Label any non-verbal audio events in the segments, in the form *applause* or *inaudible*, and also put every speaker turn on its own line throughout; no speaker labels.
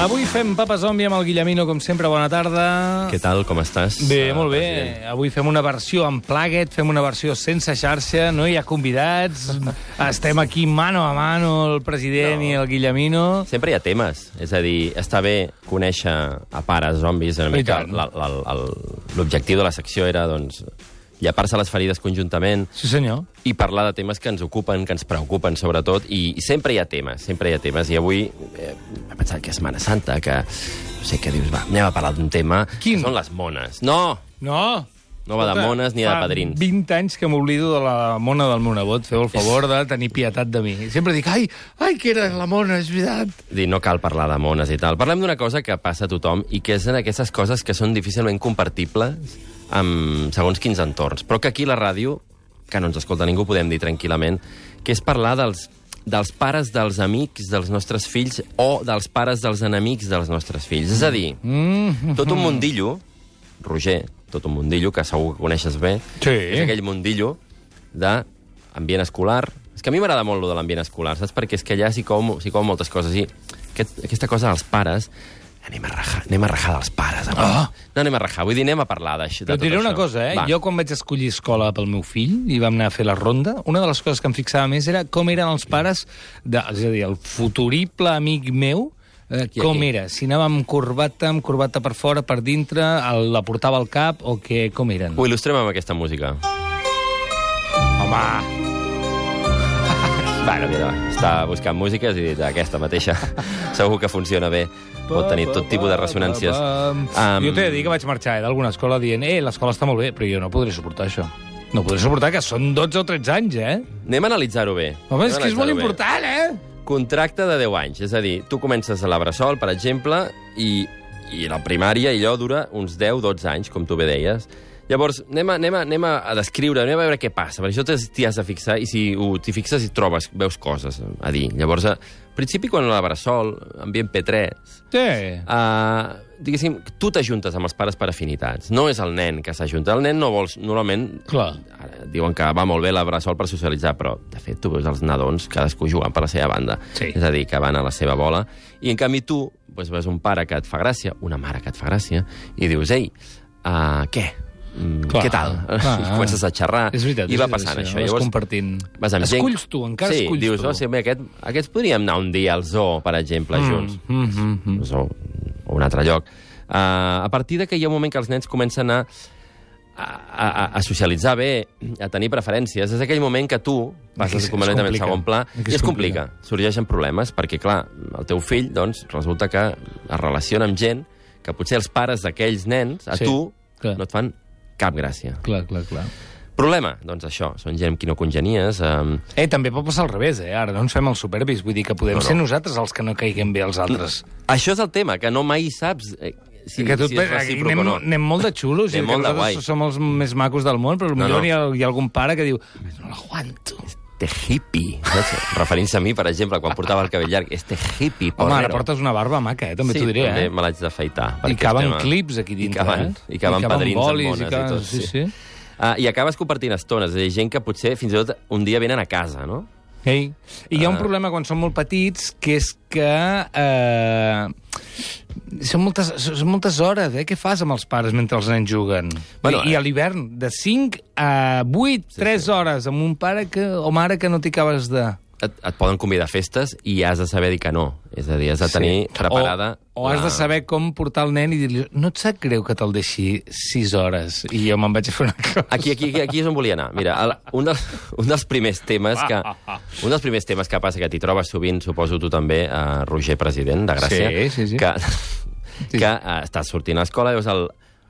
Avui fem Papa Zombi amb el Guillemino, com sempre, bona tarda.
Què tal, com estàs?
Bé,
Ah,
molt bé.
president.
Avui fem una versió amb plaguet, fem una versió sense xarxa, no hi ha
*laughs*
convidats, estem aquí mano a mano el president no. i el Guillemino.
Sempre hi ha temes. És a dir, està bé conèixer a pares zombis. Una
I
mica
tant.
la- la- la- l'objectiu de la secció era, doncs, llapar-se les ferides conjuntament
Sí, senyor.
i parlar de temes que ens ocupen, que ens preocupen, sobretot, i, i sempre hi ha temes, sempre hi ha temes, i avui eh, he pensat que és Mana Santa, que no sé què dius, va, anem a parlar d'un tema,
Quin?
que són les mones. No!
No!
No va de
Escolta,
mones ni de
fa
padrins.
20 anys que m'oblido de la mona del meu nebot. Feu el favor de tenir pietat de mi. Sempre dic, ai, ai, que era la mona, és veritat.
Dir, no cal parlar de mones i tal. Parlem d'una cosa que passa a tothom i que són aquestes coses que són difícilment compatibles amb segons quins entorns. Però que aquí la ràdio, que no ens escolta ningú, podem dir tranquil·lament, que és parlar dels, dels pares dels amics dels nostres fills o dels pares dels enemics dels nostres fills. És a dir,
Mm.
tot un mundillo, Roger, tot un mundillo, que segur que coneixes bé,
Sí.
és aquell mundillo d'ambient escolar. És que a mi m'agrada molt lo de l'ambient escolar, saps? Perquè és que allà s'hi cou, s'hi cou moltes coses. I aquest, aquesta cosa dels pares... Anem a rajar, anem a rajar dels pares. Ah. No anem a rajar, vull dir, anem a parlar d'això. de
Però et
tot
diré una
això.
cosa, eh?
Va.
Va. Jo quan vaig escollir escola pel meu fill i vam anar a fer la ronda, una de les coses que em fixava més era com eren els pares, de, és a dir, el futurible amic meu, eh,
Qui,
com
qui?
era? Si anava amb corbata, amb corbata per fora, per dintre, el, la portava al cap o què, com eren?
Ho il·lustrem amb aquesta música.
Home!
Bueno, mira, està buscant músiques i he dit aquesta mateixa. *laughs* Segur que funciona bé. Pot tenir tot tipus de ressonàncies.
Um... Jo t'he de dir que vaig marxar eh, d'alguna escola dient eh, l'escola està molt bé, però jo no podré suportar això. No podré suportar que són 12 o 13 anys, eh?
Anem a analitzar-ho bé.
Home, és
Anem a
que és molt
analitzar-ho bé.
important, eh?
Contracte de 10 anys, és a dir, tu comences a la Bressol, per exemple, i, i la primària, i allò dura uns 10-12 anys, com tu bé deies. Llavors, anem a, anem, a, anem a descriure, anem a veure què passa, perquè això t'has- t'hi has de fixar, i si ho- t'hi fixes i trobes, veus coses a dir. Llavors, a, al principi, quan a la Bressol, ambient P3,
eh? Sí.
Uh, diguéssim, tu t'ajuntes amb els pares per afinitats. No és el nen que s'ajunta. El nen no vols... Normalment...
Clar.
Ara diuen que va molt bé la bressol per socialitzar, però, de fet, tu veus els nadons cadascú jugant per la seva banda.
Sí.
És a dir, que van a la seva bola. I, en canvi, tu doncs, veus un pare que et fa gràcia, una mare que et fa gràcia, i dius, ei, uh, què? Mm,
Clar,
què tal?
clar.
*laughs* I comences a xerrar.
És veritat,
I
és
va
veritat,
passant
sí,
això.
vas compartint.
Vas amb gent-
Esculls tu, encara
sí,
esculls
dius,
tu.
Oh, sí, bé, aquest, aquests podríem anar un dia al zoo, per exemple, mm. junts
Mm -hmm.
doncs, o, o un altre lloc. Uh, a partir de que hi ha un moment que els nens comencen a, a, a, a socialitzar bé, a tenir preferències, és aquell moment que tu
Es-
passes
es
completament
complica.
en segon pla
Es
i es
complica.
complica. Sorgeixen problemes, perquè, clar, el teu fill, doncs, resulta que es relaciona amb gent que potser els pares d'aquells nens, a
Sí,
sí, tu,
clar.
clar. no et fan cap gràcia.
Clar, clar, clar.
Problema, doncs això, són gent amb qui no congenies, eh,
Eh, també pot passar al revés, eh? Ara no ens fem els supervis, vull dir que podem no, no. ser nosaltres els que no caiguem bé als altres.
Això és el tema, que no mai saps eh, si,
que
si Mm, és
aquí
recíproc
anem,
o no.
anem molt de xulos, i
Anem
que
molt de
nosaltres
guai.
som els més macos del món, però potser no,
no.
no. Hi, ha, hi ha algun pare que diu no l'aguanto.
Este hippie. Saps? Referint-se a mi, per exemple, quan portava el cabell llarg. Este hippie,
Home, ara
porrero.
portes una barba maca, eh? També
sí,
t'ho diré,
també
eh?
me l'haig d'afaitar.
I
perquè
caben
estem a-
clips aquí dintre,
I caben,
eh?
i caben padrins
bolis,
amb mones i,
caben-
tot.
Sí, sí.
Ah, I acabes compartint estones. És a dir, gent que potser fins i tot un dia venen a casa, no?
Ei. I hi ha un
Ah.
problema quan són molt petits, que és que... Eh, són, moltes, són moltes hores, eh? Què fas amb els pares mentre els nens juguen?
Bueno,
Bueno, I, I
eh.
a l'hivern, de 5 a 8, sí, 3 sí. hores amb un pare que, o mare que no t'hi acabes de...
Et, et poden convidar a festes i has de saber dir que no. És a dir, has de Ah. tenir sí. preparada...
O, o has
la-
de saber com portar el nen i dir-li no et sap greu que te'l deixi 6 hores i jo me'n vaig a fer una cosa.
Aquí, aquí, aquí, aquí és on volia anar. Mira, el, un, dels, un dels primers temes que... Un dels primers temes que passa, que t'hi trobes sovint, suposo tu també, eh, Roger, president, de Gràcia,
Sí, sí, sí.
que, que eh, estàs sortint a l'escola i veus el,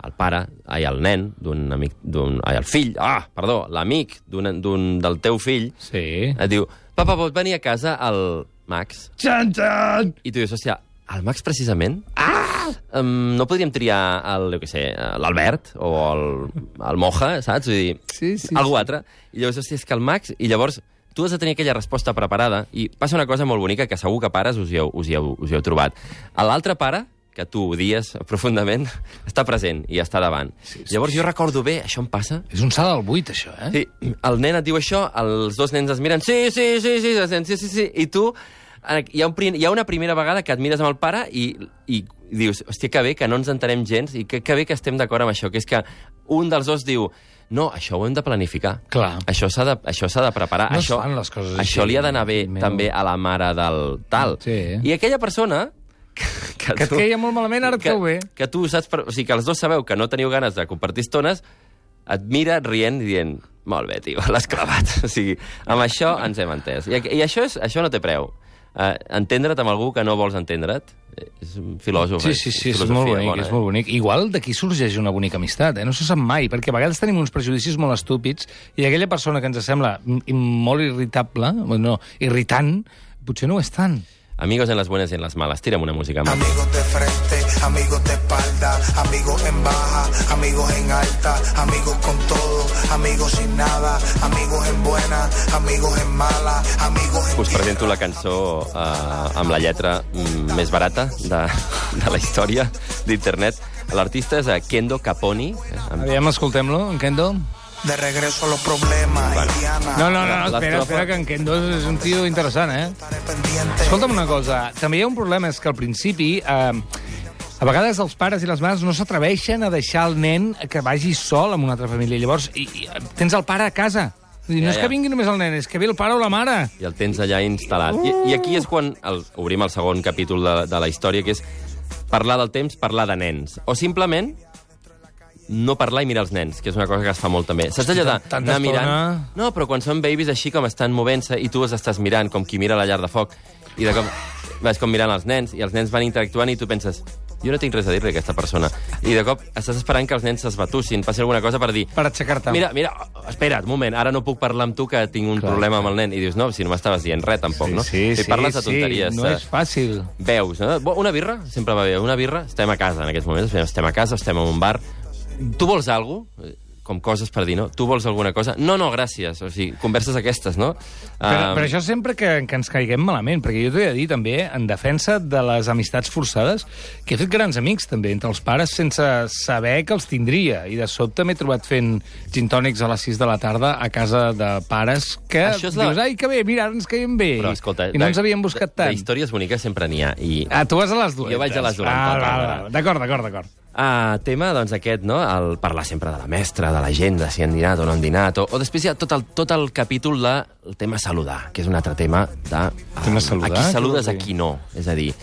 el pare, ai, el nen d'un amic... d'un... ai, el fill, ah, perdó, l'amic d'un- d'un del teu fill,
Sí.
et diu, papa, pot venir a casa el Max?
Txan, txan!
I tu dius, hòstia, el Max precisament? Ah! Um, no podríem triar el, jo què sé, l'Albert o el, el Moja, saps? Vull dir,
Sí, sí,
algú altre. I llavors, hòstia, és que el Max... I llavors tu has de tenir aquella resposta preparada i passa una cosa molt bonica que segur que pares us hi heu, us hi heu, us hi heu trobat. A L'altre pare, que tu odies profundament, *laughs* està present i està davant. Sí, sí, llavors jo recordo bé, això em passa,
És un salt al buit, això, eh?
Sí, el nen et diu això, els dos nens es miren, sí, sí, sí, sí, sí, sí, sí, sí i tu, eh, hi ha, un, prim- hi ha una primera vegada que et mires amb el pare i, i dius, hòstia, que bé, que no ens entenem gens, i que, que bé que estem d'acord amb això, que és que un dels dos diu, no, això ho hem de planificar.
Clar.
Això s'ha de, això s'ha de preparar.
No es
això,
fan les coses
Això
així,
li ha d'anar bé
meu.
també a la mare del tal.
Sí.
I aquella persona... Que, que,
Que et
tu-
queia molt malament, ara et
que,
cau bé.
que tu saps... per- O sigui, que els dos sabeu que no teniu ganes de compartir estones, et mira rient i dient molt bé, tio, *laughs* l'has clavat. O sigui, amb això ens hem entès. I, i això, és, això no té preu. Uh, entendre't amb algú que no vols entendre't eh, és un filòsof. eh?
Sí, sí, sí, és
filosofia
molt bonic,
bona,
és
eh?
molt bonic. Igual d'aquí sorgeix una bonica amistat, eh? No se sap mai, perquè a vegades tenim uns prejudicis molt estúpids i aquella persona que ens sembla mm, molt irritable, bueno, no, irritant, potser no ho és tant.
Amigos en las buenas y en las malas. Tira'm una música amb
Amigos de frente, amigos de espalda, amigos en baja, amigos en alta, amigos con todo, amigos sin nada, amigos en buena, amigos en mala, amigos en
Us presento la cançó eh, amb la lletra mm, més barata de, de la història d'internet. L'artista és eh, Kendo Caponi. eh, amb-
Aviam, escoltem-lo, en Kendo.
de regreso a los problemas, Indiana.
No, no, no,
L'estrofa-
espera, espera, que en Kendo és un tio interessant, eh?
Estaré pendiente.
Escolta'm una cosa, també hi ha un problema, és que al principi... Eh, a vegades els pares i les mares no s'atreveixen a deixar el nen que vagi sol amb una altra família. Llavors, i, i, tens el pare a casa. Vull dir,
Ja,
no és
ja.
que vingui només el nen, és que ve el pare o la mare.
I el tens allà instal·lat. I, I aquí és quan el, obrim el segon capítol de, de la història, que és parlar del temps, parlar de nens. O simplement no parlar i mirar els nens, que és una cosa que es fa molt també. Saps allò de-
Tanta estona.
d'anar mirant... No, però quan són babies així com estan movent-se i tu els estàs mirant com qui mira la llar de foc i de com vas com mirant els nens i els nens van interactuant i tu penses jo no tinc res a dir-li a aquesta persona. I de cop estàs esperant que els nens s'esbatussin, passi alguna cosa per dir
Per aixecar-te.
Mira, mira, oh, espera, un moment, ara no puc parlar amb tu que tinc un Clar. problema amb el nen. I dius, no, si no m'estaves dient res, tampoc, no? si parles de tonteries.
no
eh,
és fàcil.
Veus, no? Bo, Una birra, sempre va bé, una birra. Estem a casa en aquests moments, estem a casa, estem en un bar. Tu vols alguna cosa? Eh, Com coses per dir, no? Tu vols alguna cosa? No, no, gràcies. O sigui, converses aquestes, no?
Però,
Ah,
però això sempre que, que ens caiguem malament, perquè jo t'he de dir també, en defensa de les amistats forçades, que he fet grans amics també, entre els pares, sense saber que els tindria. I de sobte m'he trobat fent gintònics a les 6 de la tarda a casa de pares que
Això és
dius,
la-
ai, que bé, mira, ara ens caiem bé.
però, escolta,
I no
de-
ens havíem buscat
de-
tant.
De històries boniques sempre n'hi ha. I
Ah, tu vas a les dues.
Jo vaig a les dolentes,
Ah, va, va,
va.
va. D'acord, d'acord, d'acord.
Ah, tema, doncs, aquest, no? El parlar sempre de la mestra, de la gent, de si han dinat o no han dinat, o, o després hi ha tot el, tot el capítol del el tema saludar, que és un altre tema de...
Tema
ah,
saludar,
A qui saludes,
què
a
vol dir?
qui no. És a dir,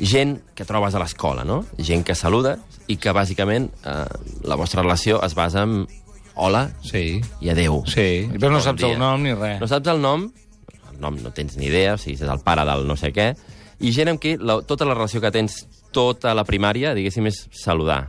gent que trobes a l'escola, no? Gent que saluda i que, bàsicament, eh, la vostra relació es basa en hola
Sí.
i adeu.
Sí, però no
Bon
saps
dia.
el nom ni res.
No saps el nom, el nom no tens ni idea, o sigui, és el pare del no sé què, i gent amb qui la, tota la relació que tens tota la primària, diguéssim, és saludar.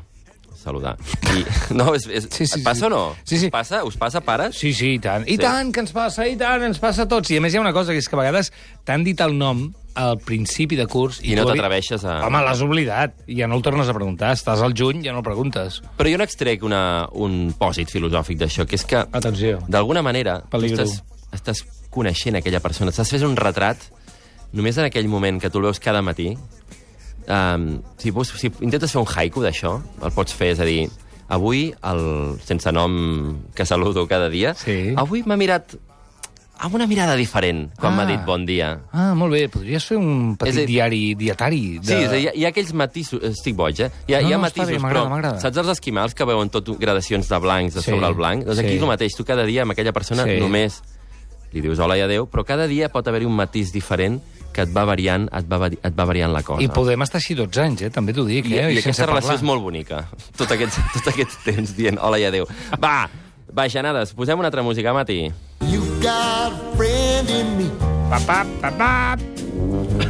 Saludar. I, *laughs* no, és, és,
Sí, sí,
et
sí.
passa o no?
Sí, sí.
Us passa, us passa, pares?
Sí, sí, i tant. I
Sí.
sí. tant, que ens passa, i tant, ens passa a tots. I a més hi ha una cosa, que és que a vegades t'han dit el nom al principi de curs...
I no
tu havi-
t'atreveixes a-
Home, l'has oblidat, i ja no el tornes a preguntar. Estàs al juny, ja no el preguntes.
Però jo n'extrec una- un pòsit filosòfic d'això, que és que,
Atenció.
d'alguna manera, tu
Peligro.
estàs, estàs coneixent aquella persona, estàs fent un retrat només en aquell moment que tu el veus cada matí. Um, si, vols- si intentes fer un haiku d'això, el pots fer, és a dir, avui, el sense nom que saludo cada dia,
Sí.
avui m'ha mirat amb una mirada diferent quan
Ah.
m'ha dit bon dia.
Ah, molt bé, podries fer un
És a
petit
dir-
diari dietari. De...
Sí, és, a dir, hi, ha, hi ha aquells matisos... Estic boig, eh? Hi ha,
No,
hi ha
no, està
matisos,
bé, m'agrada,
però
m'agrada.
saps els esquimals que veuen tot gradacions de blancs de
Sí,
sí, sobre el blanc? Doncs aquí
sí.
és el mateix. Tu cada dia amb aquella persona
Sí.
sí. només li dius hola i adeu, però cada dia pot haver-hi un matís diferent que et va variant, et va, vari- et va variant la cosa.
I podem estar així 12 anys, eh? també t'ho dic.
I,
Eh?
i
sense
aquesta relació
parlar.
és molt bonica. *laughs* Tot aquest, tot aquest temps dient hola i adeu. Va, baixanades, posem una altra música, Mati.
You've got a friend in me.
Pa, pa, pa, pa.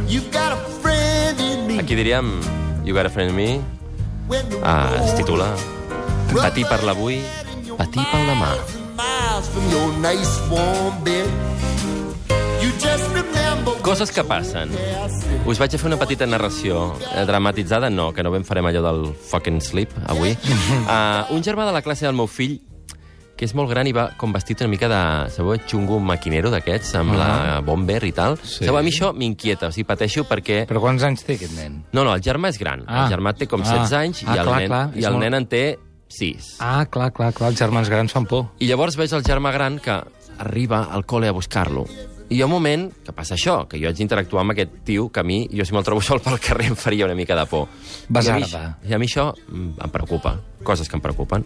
You've got a friend in me.
Aquí diríem You Got a Friend in Me,
When the
ah, es
road
titula Patir per l'avui, patir per demà.
miles from your nice warm bed. You just remember
Coses que passen. Us vaig a fer una petita narració eh, dramatitzada, no, que no ben farem allò del fucking sleep
*laughs*
avui. Uh, un germà de la classe del meu fill que és molt gran i va com vestit una mica de, sabeu, xungo maquinero d'aquests, amb la bomber i tal.
Ah. Sí.
Sabeu, a mi això m'inquieta, o sigui, pateixo perquè...
Però quants anys té aquest nen?
No, no, el germà és gran.
Ah.
Ah. El germà té com
Ah.
16 anys
Ah,
i el,
clar,
nen,
clar,
i
és
el
molt-
nen en té 6.
Ah, clar, clar, clar, els germans grans fan por.
I llavors veig el germà gran que arriba al col·le a buscar-lo. I hi ha un moment que passa això, que jo haig d'interactuar amb aquest tio que a mi, jo si me'l trobo *laughs* sol pel carrer, em faria una mica de por.
Vas
I a mi,
arda.
I a mi això mm, em preocupa, coses que em preocupen.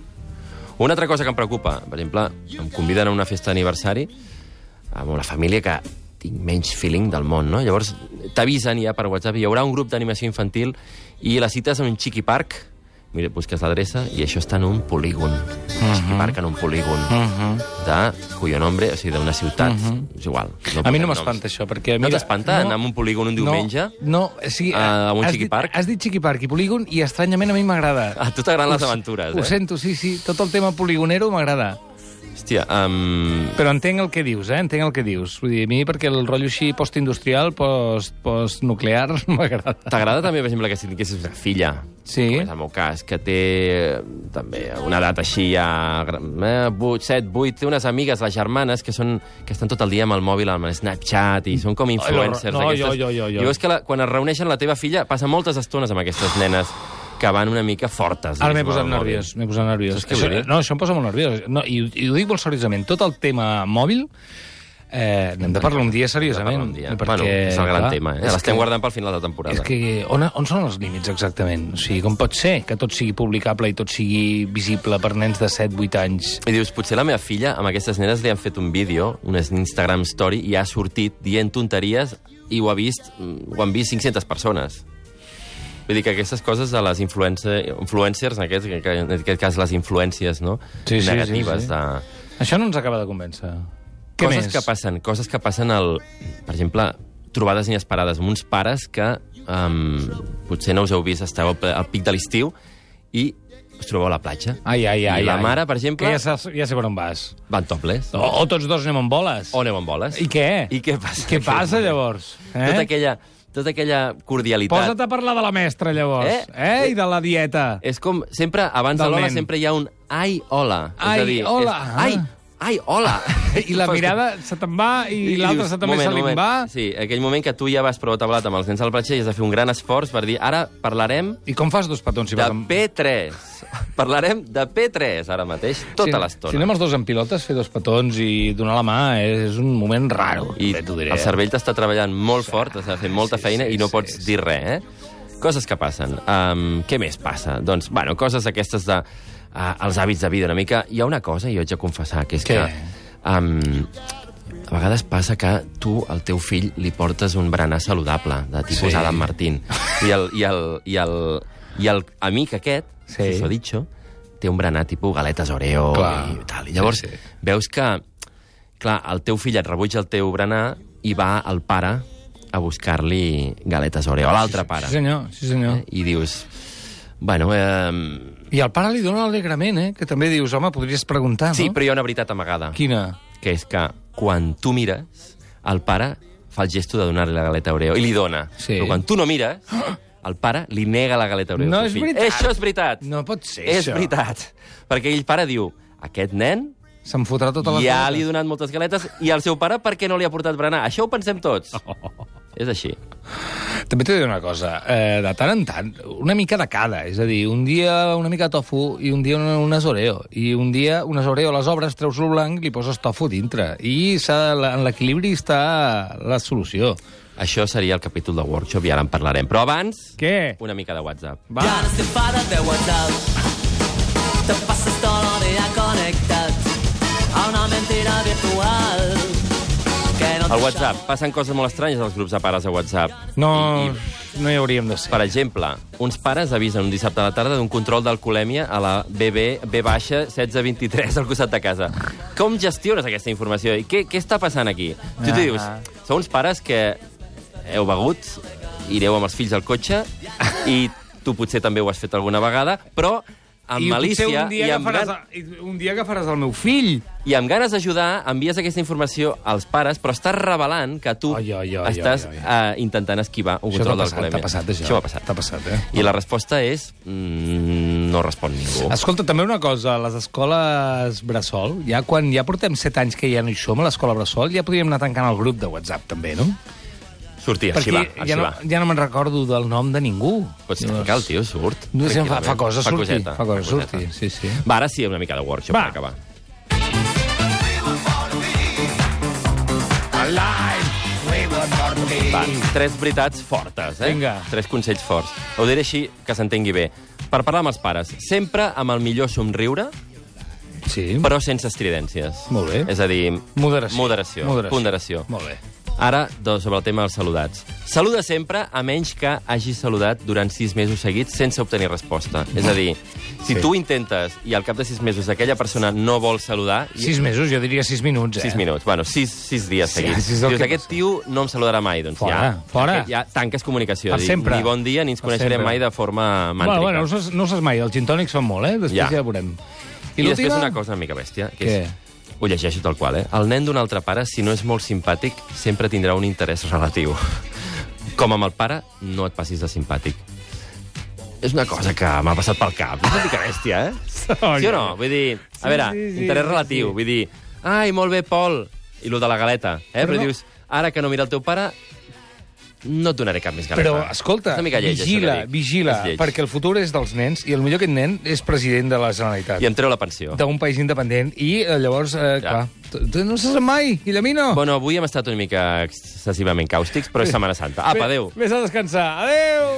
Una altra cosa que em preocupa, per exemple, em conviden a una festa d'aniversari amb una família que tinc menys feeling del món, no? Llavors t'avisen ja per WhatsApp, hi haurà un grup d'animació infantil i la cita és en un chiqui park, mira, busques l'adreça i això està en un polígon. Uh
Mhm.
-huh. Chiqui park en un polígon uh -huh. de cuyo nombre, o sigui, d'una ciutat, uh -huh. és igual.
Mhm. A mi no
posem noms.
m'espanta això, perquè...
No t'espanta anar a un polígon un diumenge?
No, no o sigui,
A un
has
Chiqui
dit-
Park?
Has dit Chiqui Park i polígon i estranyament a mi m'agrada.
A tu t'agraden les
Ho s-
aventures, eh?
Ho sento, sí, sí. Tot el tema poligonero m'agrada.
Hòstia, um,
Però entenc el que dius, eh? Entenc el que dius. Vull dir, a mi perquè el rotllo així postindustrial, post, postnuclear, *laughs* m'agrada.
T'agrada també, per exemple, que si tinguessis una filla,
Sí.
com és el meu cas, que té eh, també una edat així ja... gran, Eh, 8, 7, 8, té unes amigues, les germanes, que, són, que estan tot el dia amb el mòbil, amb el Snapchat, i són com influencers.
Mm. no,
aquestes.
jo, jo, jo, jo.
I veus que la, quan es reuneixen la teva filla, passa moltes estones amb aquestes nenes que van una mica fortes.
Ara m'he
diguéssim,
posat
amb el mòbil.
nerviós, m'he posat nerviós.
Saps què
Això,
vull dir?
no, això em posa molt nerviós. No, i, ho- I ho dic molt seriosament. Tot el tema mòbil, eh, n'hem de parlar un dia seriosament.
Un dia. Perquè, bueno, és el gran clar, tema, eh?
és
L'estem
que-
guardant pel final de temporada.
És que on, on són els límits exactament? O sigui, com pot ser que tot sigui publicable i tot sigui visible per nens de 7-8 anys?
I dius, potser la meva filla amb aquestes nenes li han fet un vídeo, un Instagram story, i ha sortit dient tonteries i ho ha vist, mm, ho han vist 500 persones. Vull dir que aquestes coses de les influencer, influencers, en aquest, en aquest cas les influències no?
Sí, sí, sí,
negatives,
sí.
de
Això no ens acaba de convèncer. Què
coses
més?
que passen, coses que passen al, per exemple, trobades inesperades amb uns pares que um, potser no us heu vist, esteu al, al pic de l'estiu i us trobeu a la platja.
Ai, ai, ai.
I la
ai.
mare, per exemple-
Que ja, saps, ja sé per on vas.
Van tobles.
O, o tots dos anem amb boles.
O aneu amb boles.
I què?
I què passa?
Què passa, llavors?
Eh? Tota, aquella, tota aquella cordialitat.
Posa't a parlar de la mestra, llavors.
Eh?
Eh? eh? I de la dieta.
És com, sempre, abans de
Del
l'hola,
nen.
sempre hi ha un ai, hola.
Ai,
és a dir,
hola. Ah.
És, ai, ai, hola.
*laughs* I la mirada se te'n va i,
dius,
l'altra se també
moment,
se li
moment.
va.
Sí, aquell moment que tu ja vas prou tabulat amb els nens al platja i has de fer un gran esforç per dir, ara parlarem
I com fas dos petons? Si
de
vas amb-
P3. Parlarem de P3 ara mateix, tota
si,
l'estona.
Si anem els dos en pilotes, fer dos petons i donar la mà és un moment raro.
I
també t'ho diré. eh?
el cervell t'està treballant molt fort, has de fer molta
sí,
feina
sí,
i no
sí,
pots
sí.
dir res, eh? Coses que passen. Um, què més passa? Doncs, bueno, coses aquestes de... Uh, els hàbits de vida una mica. Hi ha una cosa, jo haig de confessar, que és
Què?
que... Um, a vegades passa que tu al teu fill li portes un berenar saludable, de tipus
Sí.
sí. Adam Martín. I el, i el, i el, i el amic aquest,
Sí.
sí. si s'ho dicho, té un berenar tipus galetes Oreo
Clar.
i tal. I llavors
Sí,
sí,
sí.
sí. veus que, clar, el teu fill et rebutja el teu berenar i va el pare a buscar-li galetes Oreo, a l'altre
Sí,
pare.
senyor, sí, senyor.
Eh? I dius, bueno, eh,
I el pare li dona alegrement, eh? Que també dius, home, podries preguntar,
sí,
Ah, no?
però hi ha una veritat amagada,
Quina?
que és que quan tu mires, el pare fa el gesto de donar-li la galeta Oreo i li dona.
Sí.
Però quan tu no mires, el pare li nega la galeta Oreo.
No
al
és
fill.
veritat.
Això és veritat.
No pot ser,
és
això.
veritat. Perquè el pare diu, aquest nen
Se'n fotrà tota la
ja li he donat moltes galetes i al seu pare per què no li ha portat berenar? Això ho pensem tots.
Oh.
És així.
També t'he de dir una cosa, eh, de tant en tant, una mica de cada, és a dir, un dia una mica de tofu i un dia una- unes oreo, i un dia unes oreo a les obres, treus lo blanc i li poses tofu dintre, i s'ha- la- en l'equilibri està la solució.
Això seria el capítol de Workshop i ara en parlarem. Però abans,
Què?
una mica de WhatsApp.
Va.
Ja no estic fada de WhatsApp. Te passes tot l'hora connectat a una mentira virtual. Que no
Al WhatsApp passen coses molt estranyes als grups de pares de WhatsApp.
No,
I, i,
no hi hauríem de ser.
per exemple, uns pares avisen un dissabte a la tarda d'un control d'alcoholèmia a la BB B baixa 1623 al costat de casa. Com gestiones aquesta informació? I què, què està passant aquí? Tu t'hi dius, sou uns pares que heu begut, ireu amb els fills al cotxe i tu potser també ho has fet alguna vegada, però amb
I potser
malícia
un
i
dia,
amb,
agafaràs,
gan...
el- un dia agafaràs el meu fill.
i amb ganes d'ajudar envies aquesta informació als pares, però estàs revelant que tu
Ai, ai, ai, ai,
estàs
ai.
eh, intentant esquivar un
Això t'ha
control
passat,
d'alcoholèmia.
t'ha passat, això.
Això m'ha passat.
T'ha passat, eh?
I la resposta és... Mm, no respon ningú.
Escolta, també una cosa, les escoles Bressol, ja quan ja portem 7 anys que ja no hi som a l'escola Bressol, ja podríem anar tancant el grup de WhatsApp també, no?
Sortir, així va, així
ja, no,
va.
ja no me'n recordo del nom de ningú.
Pots
Llavors-
tancar, el tio surt.
No sé, fa,
tranquil·lament.
fa cosa sortir.
coseta,
fa cosa
coseta.
sortir, sí, sí.
Va, ara sí, una mica de workshop
Va.
per acabar. Va, tres veritats fortes, eh?
Vinga.
Tres consells forts. Ho diré així, que s'entengui bé. Per parlar amb els pares, sempre amb el millor somriure,
Sí,
però sense estridències.
Molt bé.
És a dir...
Moderació.
Moderació.
Moderació.
Ponderació.
molt bé.
Ara, doncs, sobre el tema dels saludats. Saluda sempre a menys que hagis saludat durant sis mesos seguits sense obtenir resposta. És a dir,
Sí.
si tu intentes i al cap de sis mesos aquella persona no vol saludar... i-
Sis mesos, jo diria sis minuts, eh?
Sis minuts, bueno, sis, sis dies
Sí,
seguits.
sí, és el
Dius,
que
aquest
passa.
tio no em saludarà mai. Doncs
Fora,
ja,
fora.
Ja tanques comunicació.
Per
Dir,
sempre.
Ni bon dia, ni ens
Per
coneixerem
sempre.
mai de forma màntrica.
Bueno, bueno, no, ho saps, no ho saps mai, els gintònics fan molt, eh? Després
Ja.
ja, ja veurem.
I, I després
l'última?
una cosa una mica bèstia, que
Què?
és... Ho llegeixo tal qual, eh? El nen d'un altre pare, si no és molt simpàtic, sempre tindrà un interès relatiu. *laughs* Com amb el pare, no et passis de simpàtic. És una cosa que m'ha passat pel cap. És una mica bèstia, eh?
Oi.
Sí o no? Vull dir, a veure,
sí, sí,
interès
sí,
relatiu. Vull dir, ai, molt bé, Pol, i lo de la galeta. Eh?
Però
Però,
no-
dius, ara que no mira el teu pare, no et donaré cap més galeta.
Però, escolta,
És una mica lleig, això que
vigila,
dic.
vigila,
És lleig.
perquè el futur és dels nens i el millor aquest nen és president de la Generalitat.
I em treu la pensió.
d'un país independent i eh, llavors, eh,
Ja.
clar, tu- tu no se sap mai, Guillemino.
Bueno, avui hem estat una mica excessivament càustics, però és Setmana Santa. Apa, adéu.
Vés a descansar. Adéu!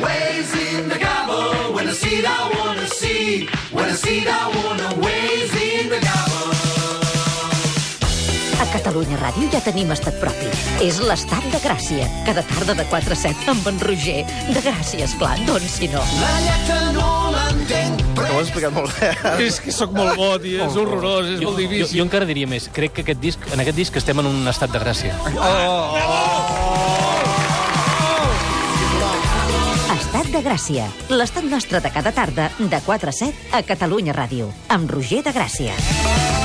Waves in the gobble. When I see that I wanna see. When I see that I wanna waves in the gobble.
A Catalunya Ràdio ja tenim estat propi. És l'estat de Gràcia. Cada tarda de 4 a 7 amb en Roger. De Gràcia, esclar, doncs si no.
La lletra no l'entenc, però...
Ho has explicat molt bé.
És que sóc molt bo, tio,
Oh,
és horrorós, és molt
Jo, jo encara diria més. Crec que aquest disc, en aquest disc estem en un estat de gràcia.
Estat de Gràcia. L'estat nostre de cada tarda de 4 a 7 a Catalunya Ràdio. Amb Roger de Gràcia.